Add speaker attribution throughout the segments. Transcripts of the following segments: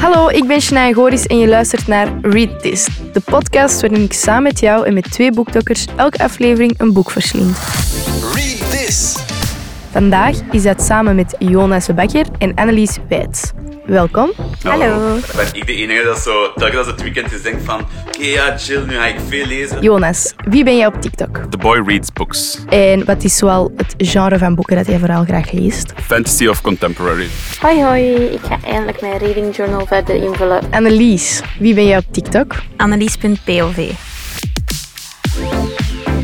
Speaker 1: Hallo, ik ben Shania Goris en je luistert naar Read This, de podcast waarin ik samen met jou en met twee boekdokkers elke aflevering een boek verslind.
Speaker 2: Read this.
Speaker 1: Vandaag is dat samen met Jonas de Bakker en Annelies Wijts. Welkom.
Speaker 3: Hallo. Ben ik de enige Nou, dat zo telkens als het weekend is denkt van oké ja chill, nu ga ik veel lezen.
Speaker 1: Jonas, wie ben jij op TikTok?
Speaker 3: The Boy Reads Books.
Speaker 1: En wat is zoal het genre van boeken dat jij vooral graag leest?
Speaker 3: Fantasy of Contemporary.
Speaker 4: Hoi hoi, ik ga eindelijk mijn reading journal verder invullen.
Speaker 1: Annelies, wie ben jij op TikTok?
Speaker 5: Annelies.pov.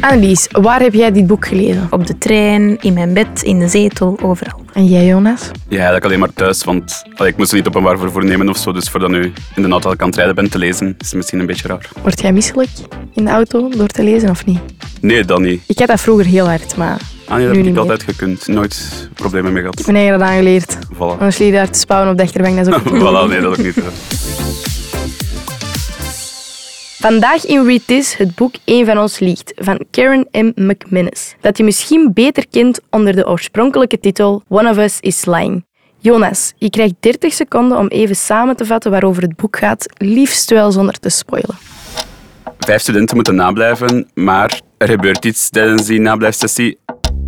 Speaker 1: Annelies, waar heb jij dit boek gelezen?
Speaker 5: Op de trein, in mijn bed, in de zetel, overal.
Speaker 1: En jij, Jonas?
Speaker 3: Ja, eigenlijk alleen maar thuis, want allee, ik moest er niet openbaar voor voornemen of zo. Dus voordat nu in de auto kan rijden bent te lezen, is misschien een beetje raar.
Speaker 1: Word jij misselijk in de auto door te lezen of niet?
Speaker 3: Nee, dan niet.
Speaker 1: Ik had dat vroeger heel hard, maar
Speaker 3: Ah nee, dat
Speaker 1: nu
Speaker 3: heb
Speaker 1: niet
Speaker 3: ik
Speaker 1: meer.
Speaker 3: altijd gekund. Nooit problemen mee
Speaker 1: Ik Oh,
Speaker 3: gehad.
Speaker 1: ben eigen dat aangeleerd.
Speaker 3: Voilà.
Speaker 1: Anders liep je daar te spouwen op de achterbank, dat is ook niet goed.
Speaker 3: voilà, nee, dat ook niet. hè.
Speaker 1: Vandaag in Read This het boek Eén van ons liegt van Karen M. McMinnis. Dat je misschien beter kent onder de oorspronkelijke titel One of Us is Lying. Jonas, je krijgt 30 seconden om even samen te vatten waarover het boek gaat, liefst wel zonder te spoilen.
Speaker 3: Vijf studenten moeten nablijven, maar er gebeurt iets tijdens die nablijfsessie.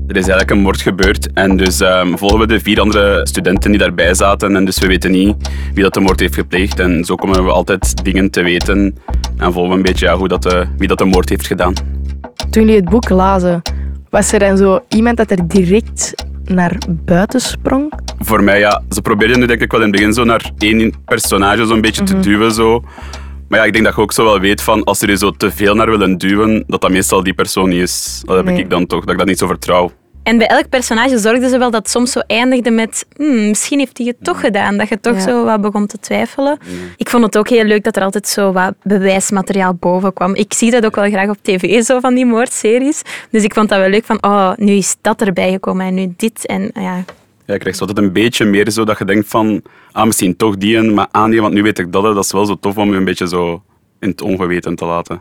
Speaker 3: Er is eigenlijk een moord gebeurd en dus ehm, volgen we de vier andere studenten die daarbij zaten en dus we weten niet wie dat de moord heeft gepleegd en zo komen we altijd dingen te weten en volgen we een beetje ja, hoe dat de, wie dat de moord heeft gedaan.
Speaker 1: Toen jullie het boek lazen, was er dan zo iemand dat er direct naar buiten sprong?
Speaker 3: Voor mij, ja, ze probeerden nu denk ik wel in het begin zo naar één personage zo'n beetje te duwen zo. Maar ja, ik denk dat je ook zo wel weet van als ze er zo te veel naar willen duwen, dat dat meestal die persoon niet is. Dat heb
Speaker 1: Nee.
Speaker 3: ik dan toch, dat ik dat niet zo vertrouw.
Speaker 5: En bij elk personage zorgden ze wel dat het soms zo eindigde met "Hmm, misschien heeft hij het toch gedaan, dat je toch
Speaker 1: Ja.
Speaker 5: zo wat begon te twijfelen. Ik vond het ook heel leuk dat er altijd zo wat bewijsmateriaal boven kwam. Ik zie dat ook wel graag op tv, zo van die moordseries. Dus ik vond dat wel leuk van, oh, nu is dat erbij gekomen en nu dit. En ja,
Speaker 3: Ja, je krijgt zo altijd een beetje meer zo dat je denkt van, ah, misschien toch die en, maar aan die, want nu weet ik dat. hè. Dat is wel zo tof om je een beetje zo in het ongeweten te laten.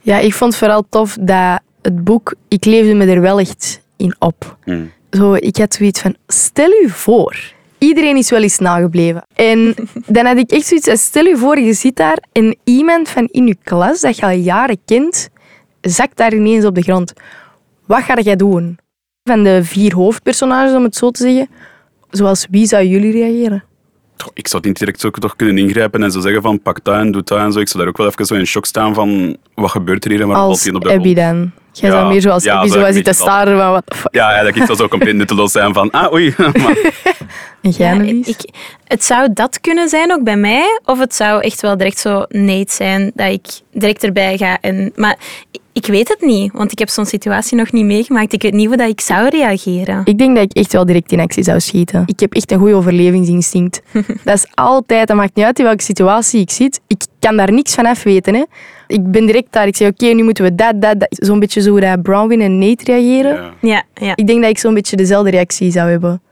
Speaker 1: Ja, ik vond vooral tof dat het boek, ik leefde me er wel echt in op.
Speaker 3: Mm.
Speaker 1: Zo, ik had zoiets van, stel u voor, iedereen is wel eens nagebleven. En dan had ik echt zoiets van, stel u voor, je zit daar en iemand van in je klas, dat je al jaren kent, zakt daar ineens op de grond. Wat ga jij doen? Van de vier hoofdpersonages, om het zo te zeggen, zoals wie zou jullie reageren?
Speaker 3: Toch, Ik zou het niet direct zo toch kunnen ingrijpen en zo zeggen van, pak dat en doe dat en zo. Ik zou daar ook wel even zo in shock staan van, wat gebeurt er hier en waar valt
Speaker 1: Als
Speaker 3: die op de
Speaker 1: Abby
Speaker 3: grond?
Speaker 1: dan. Jij
Speaker 3: Ja,
Speaker 1: zou meer zoals
Speaker 3: ja,
Speaker 1: Abby
Speaker 3: zou ik
Speaker 1: zo
Speaker 3: een
Speaker 1: zitten
Speaker 3: beetje dat-
Speaker 1: staren van, what the fuck?
Speaker 3: Ja, eigenlijk ik zou zo compleet nutteloos zijn van, ah oei. Maar,
Speaker 1: En jij,
Speaker 5: Ja,
Speaker 1: Annelies?
Speaker 5: ik, het zou dat kunnen zijn ook bij mij, of het zou echt wel direct zo nee het zijn dat ik direct erbij ga. En, maar ik, ik weet het niet, want ik heb zo'n situatie nog niet meegemaakt. Ik weet niet hoe dat ik zou reageren.
Speaker 1: Ik denk dat ik echt wel direct in actie zou schieten. Ik heb echt een goede overlevingsinstinct. dat is altijd, dat maakt niet uit in welke situatie ik zit. Ik kan daar niks van af weten. Hè. Ik ben direct daar. Ik zeg, oké, nu moeten we dat, dat, dat. Zo'n beetje zo hoe dat Brownwin en Nate reageren.
Speaker 3: ja.
Speaker 5: Ja, ja.
Speaker 1: Ik denk dat ik zo'n beetje dezelfde reactie zou hebben.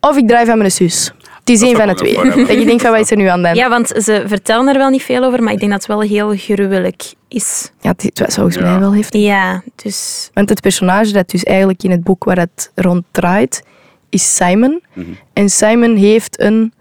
Speaker 1: Of ik draai van mijn zus. Het is
Speaker 3: Dat
Speaker 1: één van
Speaker 3: zou
Speaker 1: de
Speaker 3: ik ook
Speaker 1: twee.
Speaker 3: wel voor hebben.
Speaker 1: Dat je denkt, van, wat is er nu aan de hand?
Speaker 5: ja, want ze vertellen er wel niet veel over, maar ik denk dat het wel heel gruwelijk is.
Speaker 1: Ja, het is wat volgens
Speaker 3: Ja.
Speaker 1: mij wel heeft.
Speaker 5: Ja, dus
Speaker 1: Want het personage dat dus eigenlijk in het boek waar het rond draait, is Simon.
Speaker 3: Mhm.
Speaker 1: En Simon heeft een...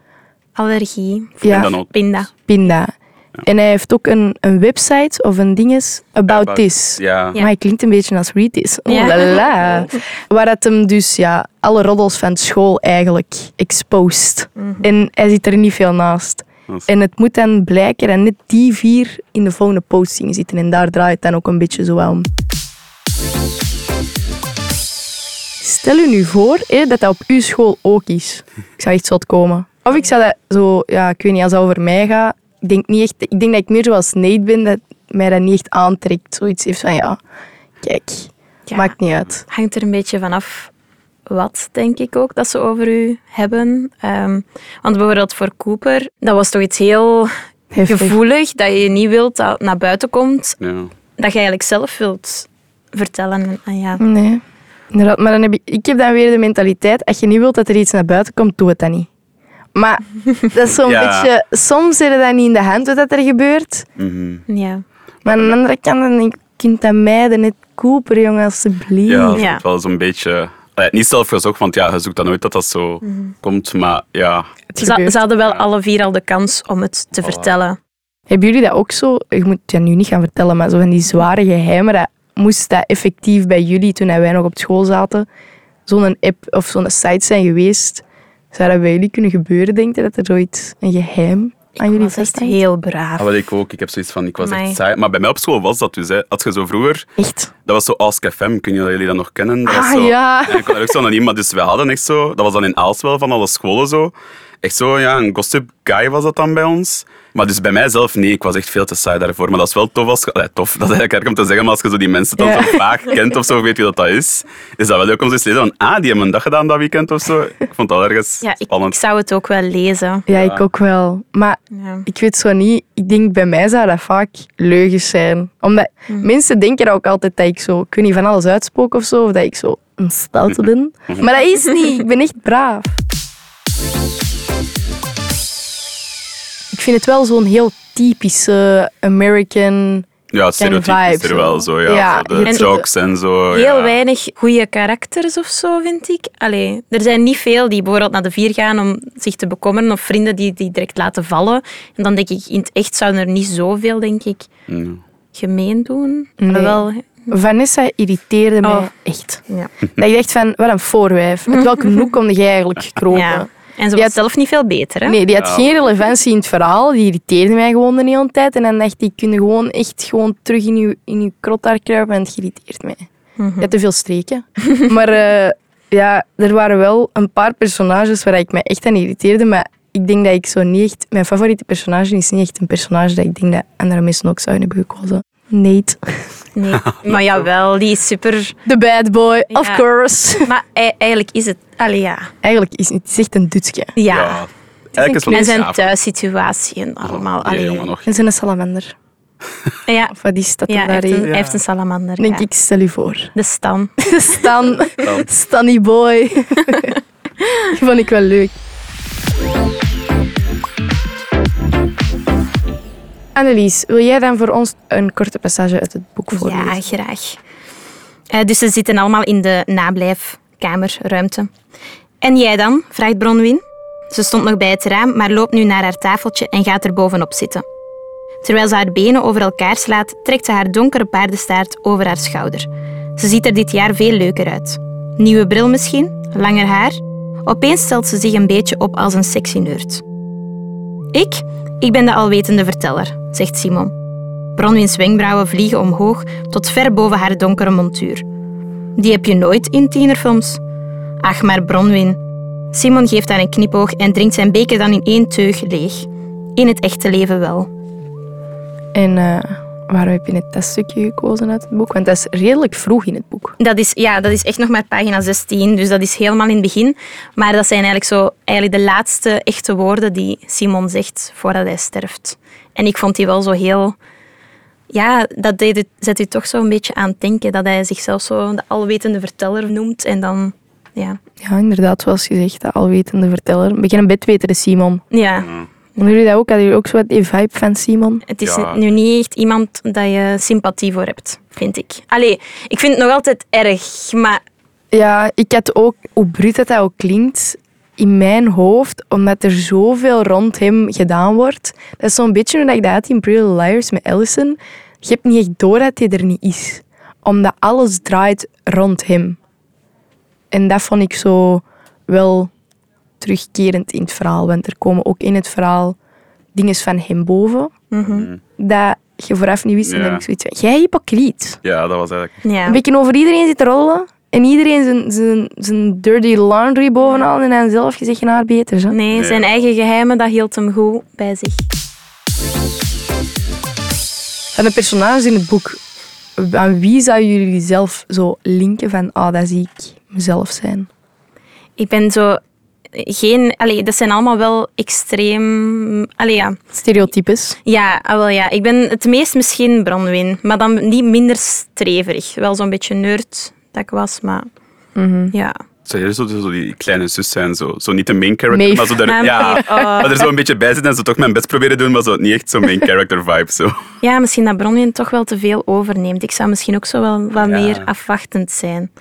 Speaker 5: allergie,
Speaker 1: Ja,
Speaker 3: En dan ook.
Speaker 5: pinda.
Speaker 1: Pinda. En hij heeft ook een, een website of een dinges, About,
Speaker 3: About
Speaker 1: This.
Speaker 3: Ja.
Speaker 1: Maar hij klinkt een beetje als Read This. Oh,
Speaker 5: Ja.
Speaker 1: la la. Waar het hem dus ja, alle roddels van school eigenlijk exposed. En hij zit er niet veel naast.
Speaker 3: Dat is-
Speaker 1: En het moet dan blijken dat net die vier in de volgende posting zitten. En daar draait het dan ook een beetje zo wel om. Stel u nu voor hè, dat dat op uw school ook is. Ik zou echt zot komen. Of ik zou dat zo, ja, ik weet niet, als dat over mij gaat. Ik denk, niet echt, ik denk dat ik meer zoals Nate ben, dat mij dat niet echt aantrekt. Zoiets heeft van, ja, kijk,
Speaker 5: Ja.
Speaker 1: maakt niet uit.
Speaker 5: hangt er een beetje vanaf wat, denk ik ook, dat ze over u hebben. Ehm, want bijvoorbeeld voor Cooper, dat was toch iets heel
Speaker 1: Heftig.
Speaker 5: gevoelig, dat je niet wilt dat het naar buiten komt,
Speaker 3: Ja.
Speaker 5: dat je eigenlijk zelf wilt vertellen. En ja,
Speaker 1: Nee. Inderdaad, maar dan heb ik, ik heb dan weer de mentaliteit, als je niet wilt dat er iets naar buiten komt, doe het dan niet. Maar dat is zo'n
Speaker 3: Ja.
Speaker 1: beetje, soms zit het dan niet in de hand wat dat er gebeurt.
Speaker 3: Mhm.
Speaker 5: ja.
Speaker 1: Maar aan de andere kant, dan denk ik, je kunt dat meiden, net Cooper, jongen, alsjeblieft.
Speaker 3: Ja, dat
Speaker 5: Ja.
Speaker 3: is wel zo'n beetje eh, niet zelf gezocht, want ja, je zoekt dan nooit dat dat zo komt. Maar ja,
Speaker 1: Het
Speaker 5: Ze,
Speaker 1: gebeurt.
Speaker 5: ze hadden wel alle vier al de kans om het
Speaker 3: Oh.
Speaker 5: te vertellen.
Speaker 1: Hebben jullie dat ook zo? Ik moet het ja nu niet gaan vertellen, maar zo van die zware geheimen. Dat, moest dat effectief bij jullie toen wij nog op school zaten? Zo'n app of zo'n site zijn geweest. Zou dat bij jullie kunnen gebeuren, denk je? Dat er zoiets, een geheim aan jullie
Speaker 5: Dat is echt
Speaker 1: vasthangt?
Speaker 5: heel braaf.
Speaker 3: dat weet Ah, ik ook. Ik heb zoiets van, ik was
Speaker 5: Amai.
Speaker 3: echt saai. Maar bij mij op school was dat dus. Hè. Had je zo vroeger,
Speaker 1: Echt?
Speaker 3: dat was zo Ask FM, kun je dat jullie dat nog kennen? Dat was
Speaker 1: Ah,
Speaker 3: zo,
Speaker 1: ja.
Speaker 3: En ik kon er ook zo anoniem, maar dus we hadden echt zo, dat was dan in Aals wel van alle scholen zo. Echt zo, ja, een gossip guy was dat dan bij ons. Maar dus bij mij zelf, nee, ik was echt veel te saai daarvoor. Maar dat is wel tof als je, allee, tof, dat is eigenlijk erg om te zeggen, maar als je zo die mensen dan
Speaker 1: Ja.
Speaker 3: zo vaak kent of zo, of weet je dat dat is, is dat wel leuk om zo eens te lezen van, ah, die hebben een dag gedaan dat weekend of zo. Ik vond dat ergens
Speaker 5: Ja, ik, ik
Speaker 3: spannend.
Speaker 5: zou het ook wel lezen.
Speaker 1: Ja, ik ook wel. Maar
Speaker 5: Ja.
Speaker 3: Oh,
Speaker 1: ik weet zo niet. Ik denk, bij mij zou dat vaak leugens zijn. Omdat
Speaker 5: Mm.
Speaker 1: mensen denken ook altijd dat ik zo, ik weet niet, van alles uitspook of zo. Of dat ik zo een stoute ben. Maar dat is niet. Ik ben echt braaf. Ik vind het wel zo'n heel typische American...
Speaker 3: Ja, het stereotype
Speaker 1: vibe,
Speaker 3: is er wel
Speaker 1: zo.
Speaker 3: zo, ja.
Speaker 1: Ja,
Speaker 3: zo de
Speaker 1: en-
Speaker 3: jokes en zo.
Speaker 5: Heel
Speaker 3: ja.
Speaker 5: weinig goede karakters of zo, vind ik. Allee, er zijn niet veel die bijvoorbeeld naar de vier gaan om zich te bekommeren. Of vrienden die die direct laten vallen. En dan denk ik, in het echt zouden er niet zoveel, denk ik, gemeen doen. Maar
Speaker 1: Nee.
Speaker 5: wel,
Speaker 1: Vanessa irriteerde mij
Speaker 5: Oh.
Speaker 1: echt.
Speaker 5: ja.
Speaker 1: Dat ik dacht van, wat een voorwijf. Uit welke hoek kom je eigenlijk gekropen?
Speaker 5: ja. En
Speaker 1: Ja,
Speaker 5: ze was
Speaker 1: het-
Speaker 5: zelf niet veel beter, hè?
Speaker 1: Nee, die had
Speaker 3: Ja.
Speaker 1: geen relevantie in het verhaal. Die irriteerde mij gewoon de hele tijd. En dan dacht ik, kun je gewoon echt gewoon terug in je, in je krot daar kruipen. En het irriteert mij.
Speaker 5: Mhm.
Speaker 1: Je had te veel streken. maar eh, ja, er waren wel een paar personages waar ik me echt aan irriteerde. Maar ik denk dat ik zo niet echt... Mijn favoriete personage is niet echt een personage dat ik denk dat andere mensen ook zouden hebben gekozen. Nate.
Speaker 5: Nee. Maar jawel, die is super...
Speaker 1: The bad boy, of
Speaker 5: Ja.
Speaker 1: course.
Speaker 5: Maar ei- eigenlijk is het... Allee, ja.
Speaker 1: Eigenlijk is het, het is echt een dutje.
Speaker 5: Ja.
Speaker 3: Ja. Eigenlijk is wel
Speaker 5: En
Speaker 3: iets
Speaker 5: zijn
Speaker 3: gaaf.
Speaker 5: thuissituatie en eh, allemaal.
Speaker 3: Nee,
Speaker 5: Allee.
Speaker 3: jongen, nog.
Speaker 1: En zijn salamander.
Speaker 5: Ja,
Speaker 1: Of wat is dat er
Speaker 5: ja, hij, heeft een,
Speaker 1: daarin?
Speaker 5: hij heeft een salamander.
Speaker 1: Denk
Speaker 5: ja.
Speaker 1: ik, stel u voor.
Speaker 5: De Stan.
Speaker 1: Stan. Stanny boy. Die vond ik wel leuk. Annelies, wil jij dan voor ons een korte passage uit het boek voorlezen?
Speaker 5: Ja, graag. Eh, dus ze zitten allemaal in de nablijfkamerruimte. En jij dan? vraagt Bronwyn. Ze stond nog bij het raam, maar loopt nu naar haar tafeltje en gaat er bovenop zitten. Terwijl ze haar benen over elkaar slaat, trekt ze haar donkere paardenstaart over haar schouder. Ze ziet er dit jaar veel leuker uit. Nieuwe bril misschien, langer haar. Opeens stelt ze zich een beetje op als een sexy nerd. Ik? Ik ben de alwetende verteller, zegt Simon. Bronwyns wenkbrauwen vliegen omhoog tot ver boven haar donkere montuur. Die heb je nooit in tienerfilms. Ach, maar Bronwyn. Simon geeft haar een knipoog en drinkt zijn beker dan in één teug leeg. In het echte leven wel.
Speaker 1: En eh, waarom heb je het teststukje gekozen uit het boek? Want dat is redelijk vroeg in het boek.
Speaker 5: Dat is, ja, dat is echt nog maar pagina 16, dus dat is helemaal in het begin. Maar dat zijn eigenlijk, zo, eigenlijk de laatste echte woorden die Simon zegt voordat hij sterft. En ik vond die wel zo heel... Ja, dat deed het, zet u toch zo een beetje aan het denken. Dat hij zichzelf zo de alwetende verteller noemt. En dan... Ja.
Speaker 1: Ja, inderdaad, zoals gezegd, de alwetende verteller. Begin een bedwetere Simon.
Speaker 5: ja.
Speaker 1: Hebben jullie dat ook? Hadden jullie ook zo wat die vibe van Simon?
Speaker 5: Het is
Speaker 3: Ja.
Speaker 5: nu niet echt iemand dat je sympathie voor hebt, vind ik. Allee, ik vind het nog altijd erg, maar...
Speaker 1: Ja, ik had ook, hoe bruut dat, dat ook klinkt, in mijn hoofd, omdat er zoveel rond hem gedaan wordt. Dat is zo'n beetje hoe ik dat had in Pretty Little Liars met Allison. Je hebt niet echt door dat hij er niet is. Omdat alles draait rond hem. En dat vond ik zo wel terugkerend in het verhaal. Want er komen ook in het verhaal dingen van hem boven. Dat je vooraf niet wist. En
Speaker 3: Ja.
Speaker 1: dan heb ik zoiets van, jij hypocriet.
Speaker 3: Ja, dat was eigenlijk...
Speaker 5: Ja.
Speaker 1: Een beetje over iedereen zit te rollen. En iedereen zijn, zijn, zijn dirty laundry bovenal. En dan zelf gezegd je haar beter. Hè?
Speaker 5: Nee,
Speaker 3: Nee.
Speaker 5: zijn eigen geheimen, dat hield hem goed bij zich.
Speaker 1: Van de personages in het boek. Aan wie zou jullie zelf zo linken van, ah, dat zie ik mezelf zijn?
Speaker 5: Ik ben zo... Geen... Allee, dat zijn allemaal wel extreem... Allee, ja.
Speaker 1: Stereotypes.
Speaker 5: Ja, ah, wel ja. Ik ben het meest misschien Bronwyn, maar dan niet minder streverig. Wel zo'n beetje nerd dat ik was, maar...
Speaker 1: Mhm.
Speaker 5: Ja.
Speaker 3: Zou jij zo, zo die kleine zus zijn? Zo, zo niet de main character,
Speaker 1: Maeve.
Speaker 3: maar zo daar,
Speaker 5: Maar-
Speaker 3: ja,
Speaker 5: oh.
Speaker 3: maar er zo een beetje bij zitten en zo toch mijn best proberen doen, maar zo niet echt zo'n main character vibe. Zo.
Speaker 5: Ja, misschien dat Bronwyn toch wel te veel overneemt. Ik zou misschien ook zo wel wat meer afwachtend zijn.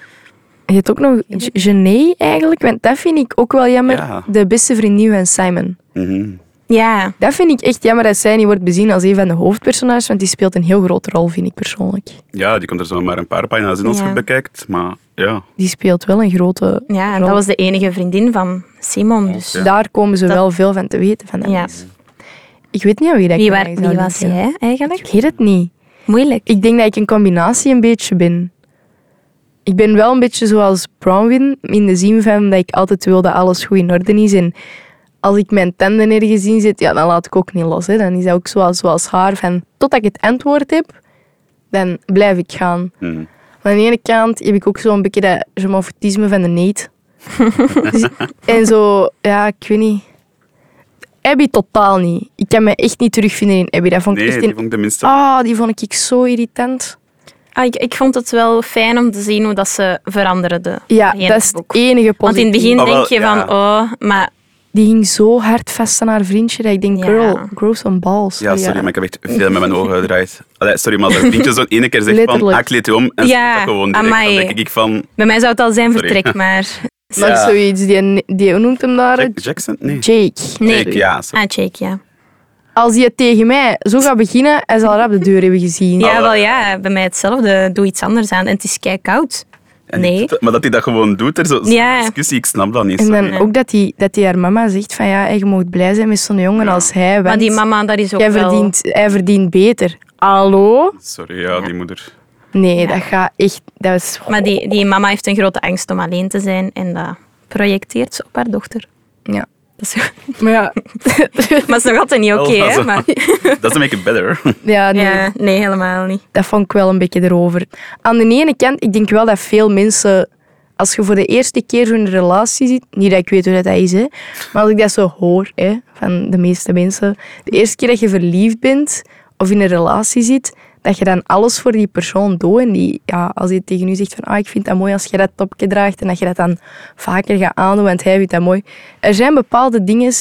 Speaker 1: Je hebt ook nog J- Gené eigenlijk, want dat vind ik ook wel jammer.
Speaker 3: Ja.
Speaker 1: De beste vriendin van Simon.
Speaker 3: Mhm.
Speaker 5: Ja,
Speaker 1: Dat vind ik echt jammer dat zij niet wordt bezien als een van de hoofdpersonages, want die speelt een heel grote rol, vind ik persoonlijk.
Speaker 3: Ja, die komt er zo maar een paar pagina's in als je
Speaker 5: Ja.
Speaker 3: het bekijkt. Maar ja,
Speaker 1: Die speelt wel een grote
Speaker 5: ja en
Speaker 1: rol.
Speaker 5: dat was de enige vriendin van Simon. Dus.
Speaker 3: Ja.
Speaker 1: Daar komen ze
Speaker 5: Dat-
Speaker 1: wel veel van te weten van dat
Speaker 5: Ja.
Speaker 1: is. Ik weet niet aan wie dat
Speaker 5: Wie,
Speaker 1: ik
Speaker 5: waar,
Speaker 1: mij zou
Speaker 5: wie was
Speaker 1: linken.
Speaker 5: jij eigenlijk?
Speaker 1: Ik weet het niet.
Speaker 5: Moeilijk.
Speaker 1: Ik denk dat ik een combinatie een beetje ben. Ik ben wel een beetje zoals Bronwyn, in de zin van dat ik altijd wil dat alles goed in orde is. En als ik mijn tanden ergens in zit, ja, dan laat ik ook niet los. Hè. Dan is dat ook zoals, zoals haar, van totdat ik het antwoord heb, dan blijf ik gaan.
Speaker 3: Mhm.
Speaker 1: Maar aan de ene kant heb ik ook zo'n beetje dat germofoutisme van de neet. Dus- en zo, ja, ik weet niet. Abby totaal niet. Ik kan me echt niet terugvinden in Abby. Dat vond ik
Speaker 3: nee,
Speaker 1: echt
Speaker 3: die
Speaker 1: een...
Speaker 3: vond ik de minste.
Speaker 5: Oh,
Speaker 1: Ah, die vond ik zo irritant.
Speaker 5: Ah, ik, ik vond het wel fijn om te zien hoe dat ze veranderden.
Speaker 1: Ja,
Speaker 5: doorheen
Speaker 1: dat is het
Speaker 5: boek.
Speaker 1: enige
Speaker 5: Want in
Speaker 1: positieve.
Speaker 5: het begin
Speaker 3: Ah, wel,
Speaker 5: denk je
Speaker 3: ja.
Speaker 5: van, oh, maar
Speaker 1: Die ging zo hard vast aan haar vriendje dat ik denk,
Speaker 5: Ja.
Speaker 1: girl, grow some balls.
Speaker 3: Ja, sorry, maar ik heb echt veel met mijn ogen gedraaid. Allee, sorry, maar als een vriendje zo'n ene keer zegt van,
Speaker 1: Letterlijk.
Speaker 3: ah, ik kleed je om, en
Speaker 5: Ja,
Speaker 3: ja, dat gewoon direct,
Speaker 5: amai.
Speaker 3: dan denk ik van...
Speaker 5: bij mij zou het al zijn
Speaker 3: Sorry.
Speaker 5: vertrek, maar...
Speaker 1: Maar
Speaker 3: Ja.
Speaker 1: zoiets, die, die, hoe noemt hem daar?
Speaker 3: Jack- Jackson? Nee.
Speaker 1: Jake.
Speaker 5: Nee.
Speaker 3: Jake, ja, sorry.
Speaker 5: Ah, Jake, ja.
Speaker 1: Als hij het tegen mij zo gaat beginnen, hij zal rap de deur hebben gezien.
Speaker 5: Ja, wel ja, bij mij hetzelfde. Doe iets anders aan en het is kei koud.
Speaker 3: En die-
Speaker 5: Nee.
Speaker 3: Maar dat hij dat gewoon doet, er zo- zo'n
Speaker 5: Ja.
Speaker 3: discussie, ik snap dat niet.
Speaker 1: En
Speaker 3: sorry.
Speaker 1: dan ook dat hij dat die haar mama zegt van ja, je moet blij zijn met zo'n jongen als hij. Want
Speaker 5: Maar die mama, dat is ook
Speaker 1: jij
Speaker 5: wel...
Speaker 1: verdient, hij verdient beter. Hallo?
Speaker 3: Sorry, ja, die moeder.
Speaker 1: Nee, dat gaat echt... Dat is,
Speaker 5: Maar die, die mama heeft een grote angst om alleen te zijn en dat projecteert ze op haar dochter.
Speaker 1: ja.
Speaker 5: Dat is,
Speaker 1: Maar ja...
Speaker 5: maar het is nog altijd niet oké,
Speaker 3: Wel,
Speaker 5: hè?
Speaker 3: dat
Speaker 5: Maar,
Speaker 3: Dat is make it better.
Speaker 1: ja, nee.
Speaker 5: ja, nee, helemaal niet.
Speaker 1: Dat vond ik wel een beetje erover. Aan de ene kant, ik denk wel dat veel mensen... Als je voor de eerste keer zo'n relatie ziet... Niet dat ik weet hoe dat, dat is, hè. Maar als ik dat zo hoor, hè, van de meeste mensen... De eerste keer dat je verliefd bent of in een relatie zit... Dat je dan alles voor die persoon doet. En die, ja, als hij tegen u zegt van... Ah, ik vind dat mooi als je dat topje draagt. En dat je dat dan vaker gaat aandoen, want hij vindt dat mooi. Er zijn bepaalde dingen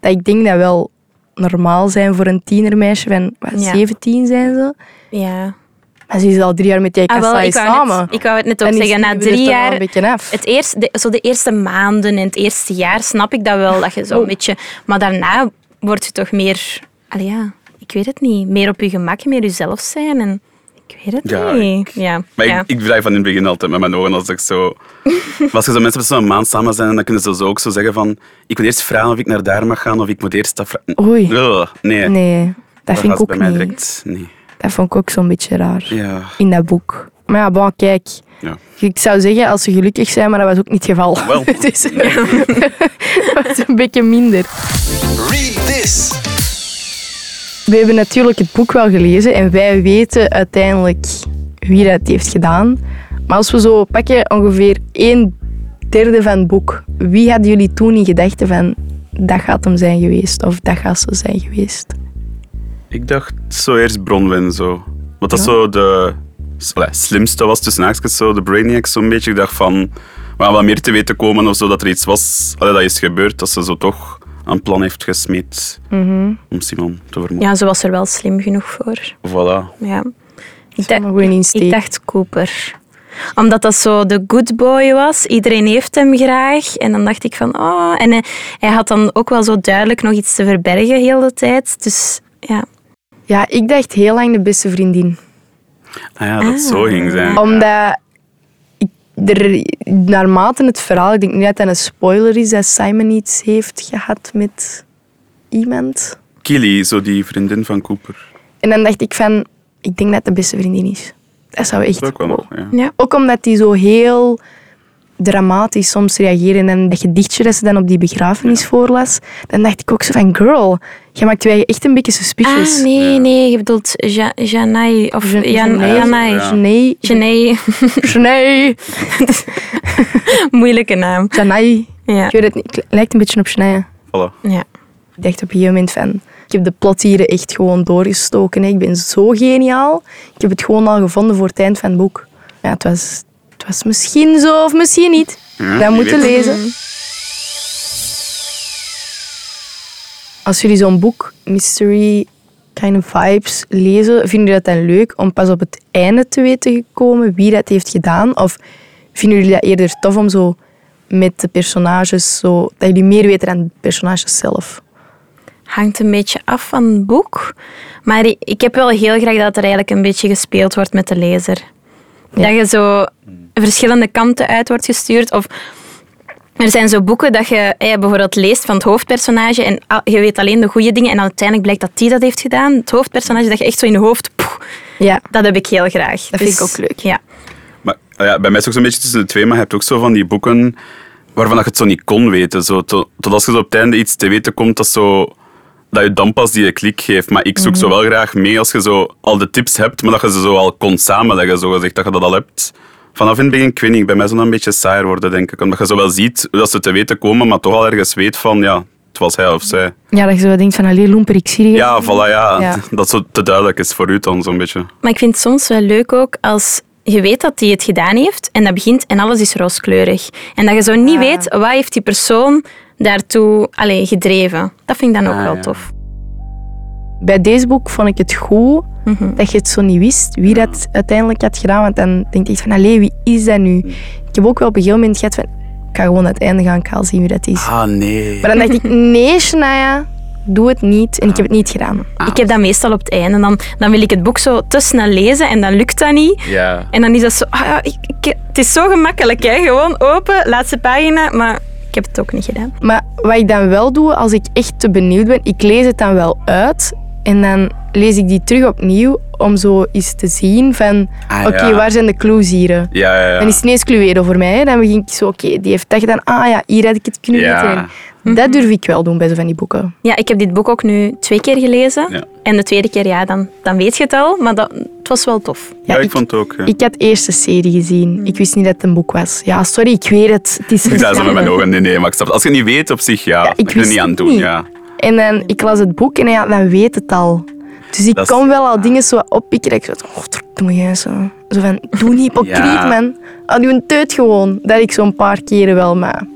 Speaker 1: dat ik denk dat wel normaal zijn voor een tienermeisje van... Wat,
Speaker 5: Ja.
Speaker 1: 17 zijn ze?
Speaker 5: Ja.
Speaker 1: Maar ze is al drie jaar met jij
Speaker 5: Ah, wel,
Speaker 1: kassa
Speaker 5: ik, wou
Speaker 1: samen.
Speaker 5: net, ik wou het net
Speaker 1: Dan
Speaker 5: ook
Speaker 1: is-
Speaker 5: zeggen, na
Speaker 1: die wil er
Speaker 5: drie
Speaker 1: toch wel
Speaker 5: jaar...
Speaker 1: een beetje af.
Speaker 5: Het eerst, de, zo de eerste maanden en het eerste jaar snap ik dat wel, dat je zo'n beetje... Maar daarna word je toch meer... Allee, ja, ik weet het niet. Meer op je gemak, meer jezelf zijn en... Ik weet het
Speaker 3: Ja,
Speaker 5: niet. ja,
Speaker 3: Maar
Speaker 5: ja.
Speaker 3: ik, ik draai van in het begin altijd met mijn ogen als ik zo... Maar als je zo mensen met zo'n maand samen zijn, dan kunnen ze zo ook zo zeggen van... Ik moet eerst vragen of ik naar daar mag gaan, of ik moet eerst dat vragen.
Speaker 1: Oei.
Speaker 3: Ugh, nee.
Speaker 1: Oh, Nee, dat, vind
Speaker 3: gaat
Speaker 1: ik ook
Speaker 3: bij
Speaker 1: niet.
Speaker 3: mij direct. Nee.
Speaker 1: Dat vond ik ook zo'n beetje raar.
Speaker 3: Ja.
Speaker 1: In dat boek. Maar ja, bon, kijk.
Speaker 3: Ja.
Speaker 1: Ik zou zeggen als ze gelukkig zijn, maar dat was ook niet het geval.
Speaker 3: Wel.
Speaker 1: dus, dat was een beetje minder.
Speaker 2: Read this.
Speaker 1: We hebben natuurlijk het boek wel gelezen en wij weten uiteindelijk wie dat heeft gedaan. Maar als we zo pakken ongeveer een derde van het boek, wie hadden jullie toen in gedachten van dat gaat hem zijn geweest of dat gaat ze zijn geweest?
Speaker 3: Ik dacht zo eerst Bronwyn zo. Want dat zo de s- allee, slimste was tussen haakjes zo, de Brainiac zo'n beetje. Ik dacht van, we gaan wel meer te weten komen of zo, dat er iets was, allee, dat is gebeurd, dat ze zo toch een plan heeft gesmeed om Simon te vermoorden.
Speaker 5: ja, ze was er wel slim genoeg voor.
Speaker 3: Voilà.
Speaker 5: Ja. Ik,
Speaker 1: wel een goeie insteek.
Speaker 5: ik dacht Cooper. Omdat dat zo de good boy was. Iedereen heeft hem graag. En dan dacht ik van, oh... En hij, hij had dan ook wel zo duidelijk nog iets te verbergen heel de tijd. Dus ja,
Speaker 1: Ja, ik dacht heel lang de beste vriendin.
Speaker 3: Ah ja, dat zo ging zijn.
Speaker 1: Omdat ik, er, naarmate het verhaal, ik denk niet dat dat een spoiler is, dat Simon iets heeft gehad met iemand.
Speaker 3: Killy, zo die vriendin van Cooper.
Speaker 1: En dan dacht ik van, ik denk dat de beste vriendin is. Dat zou echt...
Speaker 3: Dat kwam wel, ja.
Speaker 5: ja.
Speaker 1: Ook omdat die zo heel dramatisch soms reageren. En dat gedichtje dat ze dan op die begrafenis voorlas, dan dacht ik ook zo van, girl, je maakt je eigen echt een beetje suspicious.
Speaker 5: Ah, nee, nee, je bedoelt ja, Janai. Of
Speaker 1: Je-
Speaker 5: Jan,
Speaker 1: Janai.
Speaker 5: Janai.
Speaker 3: Ja.
Speaker 1: Nee.
Speaker 5: Janai.
Speaker 1: Janai.
Speaker 5: Moeilijke naam.
Speaker 1: Janai.
Speaker 5: Ja.
Speaker 1: Ik weet het niet. Het lijkt een beetje op Janai.
Speaker 3: Voilà.
Speaker 5: ja.
Speaker 1: Ik dacht op een gegeven moment van... Ik heb de plot hier echt gewoon doorgestoken. hè. Ik ben zo geniaal. Ik heb het gewoon al gevonden voor het eind van het boek. Ja, het was, het was misschien zo of misschien niet.
Speaker 3: Ja,
Speaker 1: dat
Speaker 3: wie
Speaker 1: moeten
Speaker 3: weet.
Speaker 1: lezen. Als jullie zo'n boek, mystery kind of vibes, lezen, vinden jullie dat dan leuk om pas op het einde te weten te komen wie dat heeft gedaan? Of Vinden jullie dat eerder tof om zo met de personages, zo, dat jullie meer weten dan de personages zelf?
Speaker 5: hangt een beetje af van het boek. Maar i- ik heb wel heel graag dat er eigenlijk een beetje gespeeld wordt met de lezer. Dat je zo verschillende kanten uit wordt gestuurd. Of er zijn zo boeken dat je eh, bijvoorbeeld leest van het hoofdpersonage en al- je weet alleen de goede dingen en dan uiteindelijk blijkt dat die dat heeft gedaan. Het hoofdpersonage, dat je echt zo in je hoofd... poeh,
Speaker 1: Ja.
Speaker 5: dat heb ik heel graag. Dus
Speaker 1: Dat vind ik ook leuk.
Speaker 5: Ja.
Speaker 3: Maar, ah ja, bij mij is het ook zo'n beetje tussen de twee, maar je hebt ook zo van die boeken waarvan dat je het zo niet kon weten. Zo, to- tot als je zo op het einde iets te weten komt dat, zo, dat je dan pas die klik geeft. Maar ik zoek zo wel graag mee als je zo al de tips hebt, maar dat je ze zo al kon samenleggen, zogezegd, dat je dat al hebt. Vanaf in het begin, ik weet niet, bij mij zou dat een beetje saaier worden, denk ik. Omdat je zo wel ziet hoe dat ze te weten komen, maar toch al ergens weet van, ja, het was hij of zij.
Speaker 1: Ja, dat je zo denkt van, allee, loemper, ik zie je.
Speaker 3: Ja, voilà, ja.
Speaker 1: Ja.
Speaker 3: Dat zo te duidelijk is voor u dan, zo'n beetje.
Speaker 5: Maar ik vind het soms wel leuk ook als je weet dat hij het gedaan heeft en dat begint en alles is rooskleurig. En dat je zo
Speaker 3: Ah,
Speaker 5: niet weet wat heeft die persoon daartoe allee, gedreven. Dat vind ik dan ook
Speaker 3: Ah,
Speaker 5: wel
Speaker 3: ja.
Speaker 5: tof.
Speaker 1: Bij deze boek vond ik het goed
Speaker 5: Mhm.
Speaker 1: dat je het zo niet wist wie dat uiteindelijk had gedaan. Want dan denk ik van, allee, wie is dat nu? Ik heb ook wel op een gegeven moment gehad van, ik ga gewoon naar het einde gaan, ik ga al zien wie dat is.
Speaker 3: Ah, nee.
Speaker 1: Maar dan dacht ik, nee Shania, doe het niet. En ik heb het niet gedaan.
Speaker 3: Ah,
Speaker 5: Ik heb dat meestal op het einde. En dan, dan wil ik het boek zo te snel lezen en dan lukt dat niet.
Speaker 3: Ja.
Speaker 5: En dan is dat zo... ah ja, ik, ik- het is zo gemakkelijk, hè. Gewoon open, laatste pagina. Maar ik heb het ook niet gedaan.
Speaker 1: Maar wat ik dan wel doe, als ik echt te benieuwd ben, ik lees het dan wel uit. En dan lees ik die terug opnieuw om zo eens te zien van...
Speaker 3: Ah,
Speaker 1: Oké,
Speaker 3: ja.
Speaker 1: waar zijn de clues hier? hè?
Speaker 3: Ja, ja, ja.
Speaker 1: Dan is het ineens Cluedo voor mij. hè. Dan begin ik zo, oké, die heeft dat gedaan. Ah ja, hier had ik het kunnen
Speaker 3: Ja. Mhm.
Speaker 1: weten. En Dat durf ik wel doen bij zo van die boeken.
Speaker 5: Ja, ik heb dit boek ook nu twee keer gelezen.
Speaker 3: Ja.
Speaker 5: En de tweede keer, ja, dan, dan weet je het al. Maar dat, het was wel tof.
Speaker 3: Ja, ik, vond het ook. ja.
Speaker 1: Ik had eerst de serie gezien. Ik wist niet dat het een boek was. Ja, sorry, ik weet het. Het is
Speaker 3: Ik zei zo met
Speaker 1: verstandig.
Speaker 3: mijn ogen, nee, nee, maar ik snap het. Als je het niet weet op zich, ja,
Speaker 1: Ja, ik
Speaker 3: dan kun je er
Speaker 1: wist
Speaker 3: niet aan
Speaker 1: het
Speaker 3: doen.
Speaker 1: niet.
Speaker 3: Ja.
Speaker 1: En dan, ik las het boek en ja, dan weet het al. Dus ik
Speaker 3: Dat is-
Speaker 1: kon wel al dingen zo oppikken. Dat ik zo, oh, verdomme, jij zo. Zo van, doe niet hypocriet,
Speaker 3: Ja.
Speaker 1: man. Al doe een teut gewoon. Dat ik zo'n paar keren wel, maar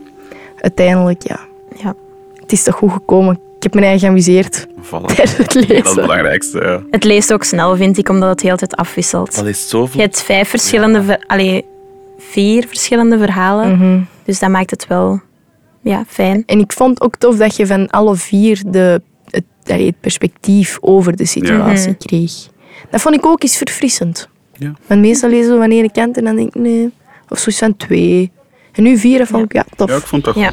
Speaker 1: uiteindelijk, ja.
Speaker 5: Ja.
Speaker 1: Het is toch goed gekomen. Ik heb mijn eigen geamuseerd
Speaker 3: Voilà.
Speaker 1: tijdens het
Speaker 3: Dat is het
Speaker 1: lezen.
Speaker 3: belangrijkste. ja.
Speaker 5: Het leest ook snel, vind ik, omdat het heel de tijd afwisselt.
Speaker 3: Dat is zoveel.
Speaker 5: Je hebt vijf verschillende, ver- allee, vier verschillende verhalen. Dus dat maakt het wel ja, fijn.
Speaker 1: En ik vond ook tof dat je van alle vier de, het, allee, het perspectief over de situatie kreeg. Dat vond ik ook eens verfrissend.
Speaker 3: Mhm. Ja.
Speaker 1: Want meestal lezen we van ene kant en dan denk ik, nee. Of zoiets van twee. En nu vier, dat vond ik, ja, tof.
Speaker 3: Ja, ik vond het toch.
Speaker 5: Ja.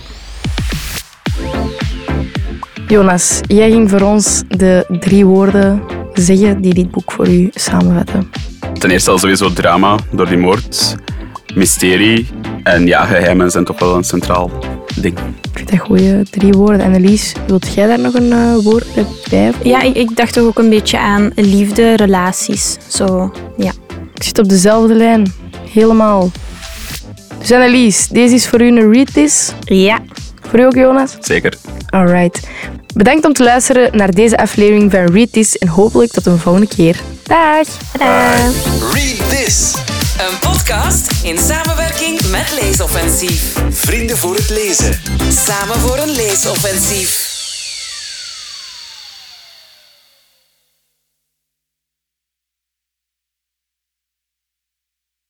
Speaker 1: Jonas, jij ging voor ons de drie woorden zeggen die dit boek voor u samenvatten.
Speaker 3: Ten eerste al sowieso drama door die moord, mysterie en ja, geheimen zijn toch wel een centraal ding.
Speaker 1: Ik vind dat goede drie woorden. Annelies, wilt jij daar nog een eh, woord bij?
Speaker 5: Ja, ik, ik dacht toch ook een beetje aan liefde, relaties. Zo, ja.
Speaker 1: Ik zit op dezelfde lijn. Helemaal. Dus Annelies, deze is voor u een read this.
Speaker 5: Ja,
Speaker 1: Voor u ook, Jonas?
Speaker 3: Zeker.
Speaker 1: Alright. Bedankt om te luisteren naar deze aflevering van Read This en hopelijk tot een volgende keer. Dag!
Speaker 5: tadaa.
Speaker 2: Read This.
Speaker 6: Een podcast in samenwerking met Leesoffensief.
Speaker 2: Vrienden voor het lezen.
Speaker 6: Samen voor een leesoffensief.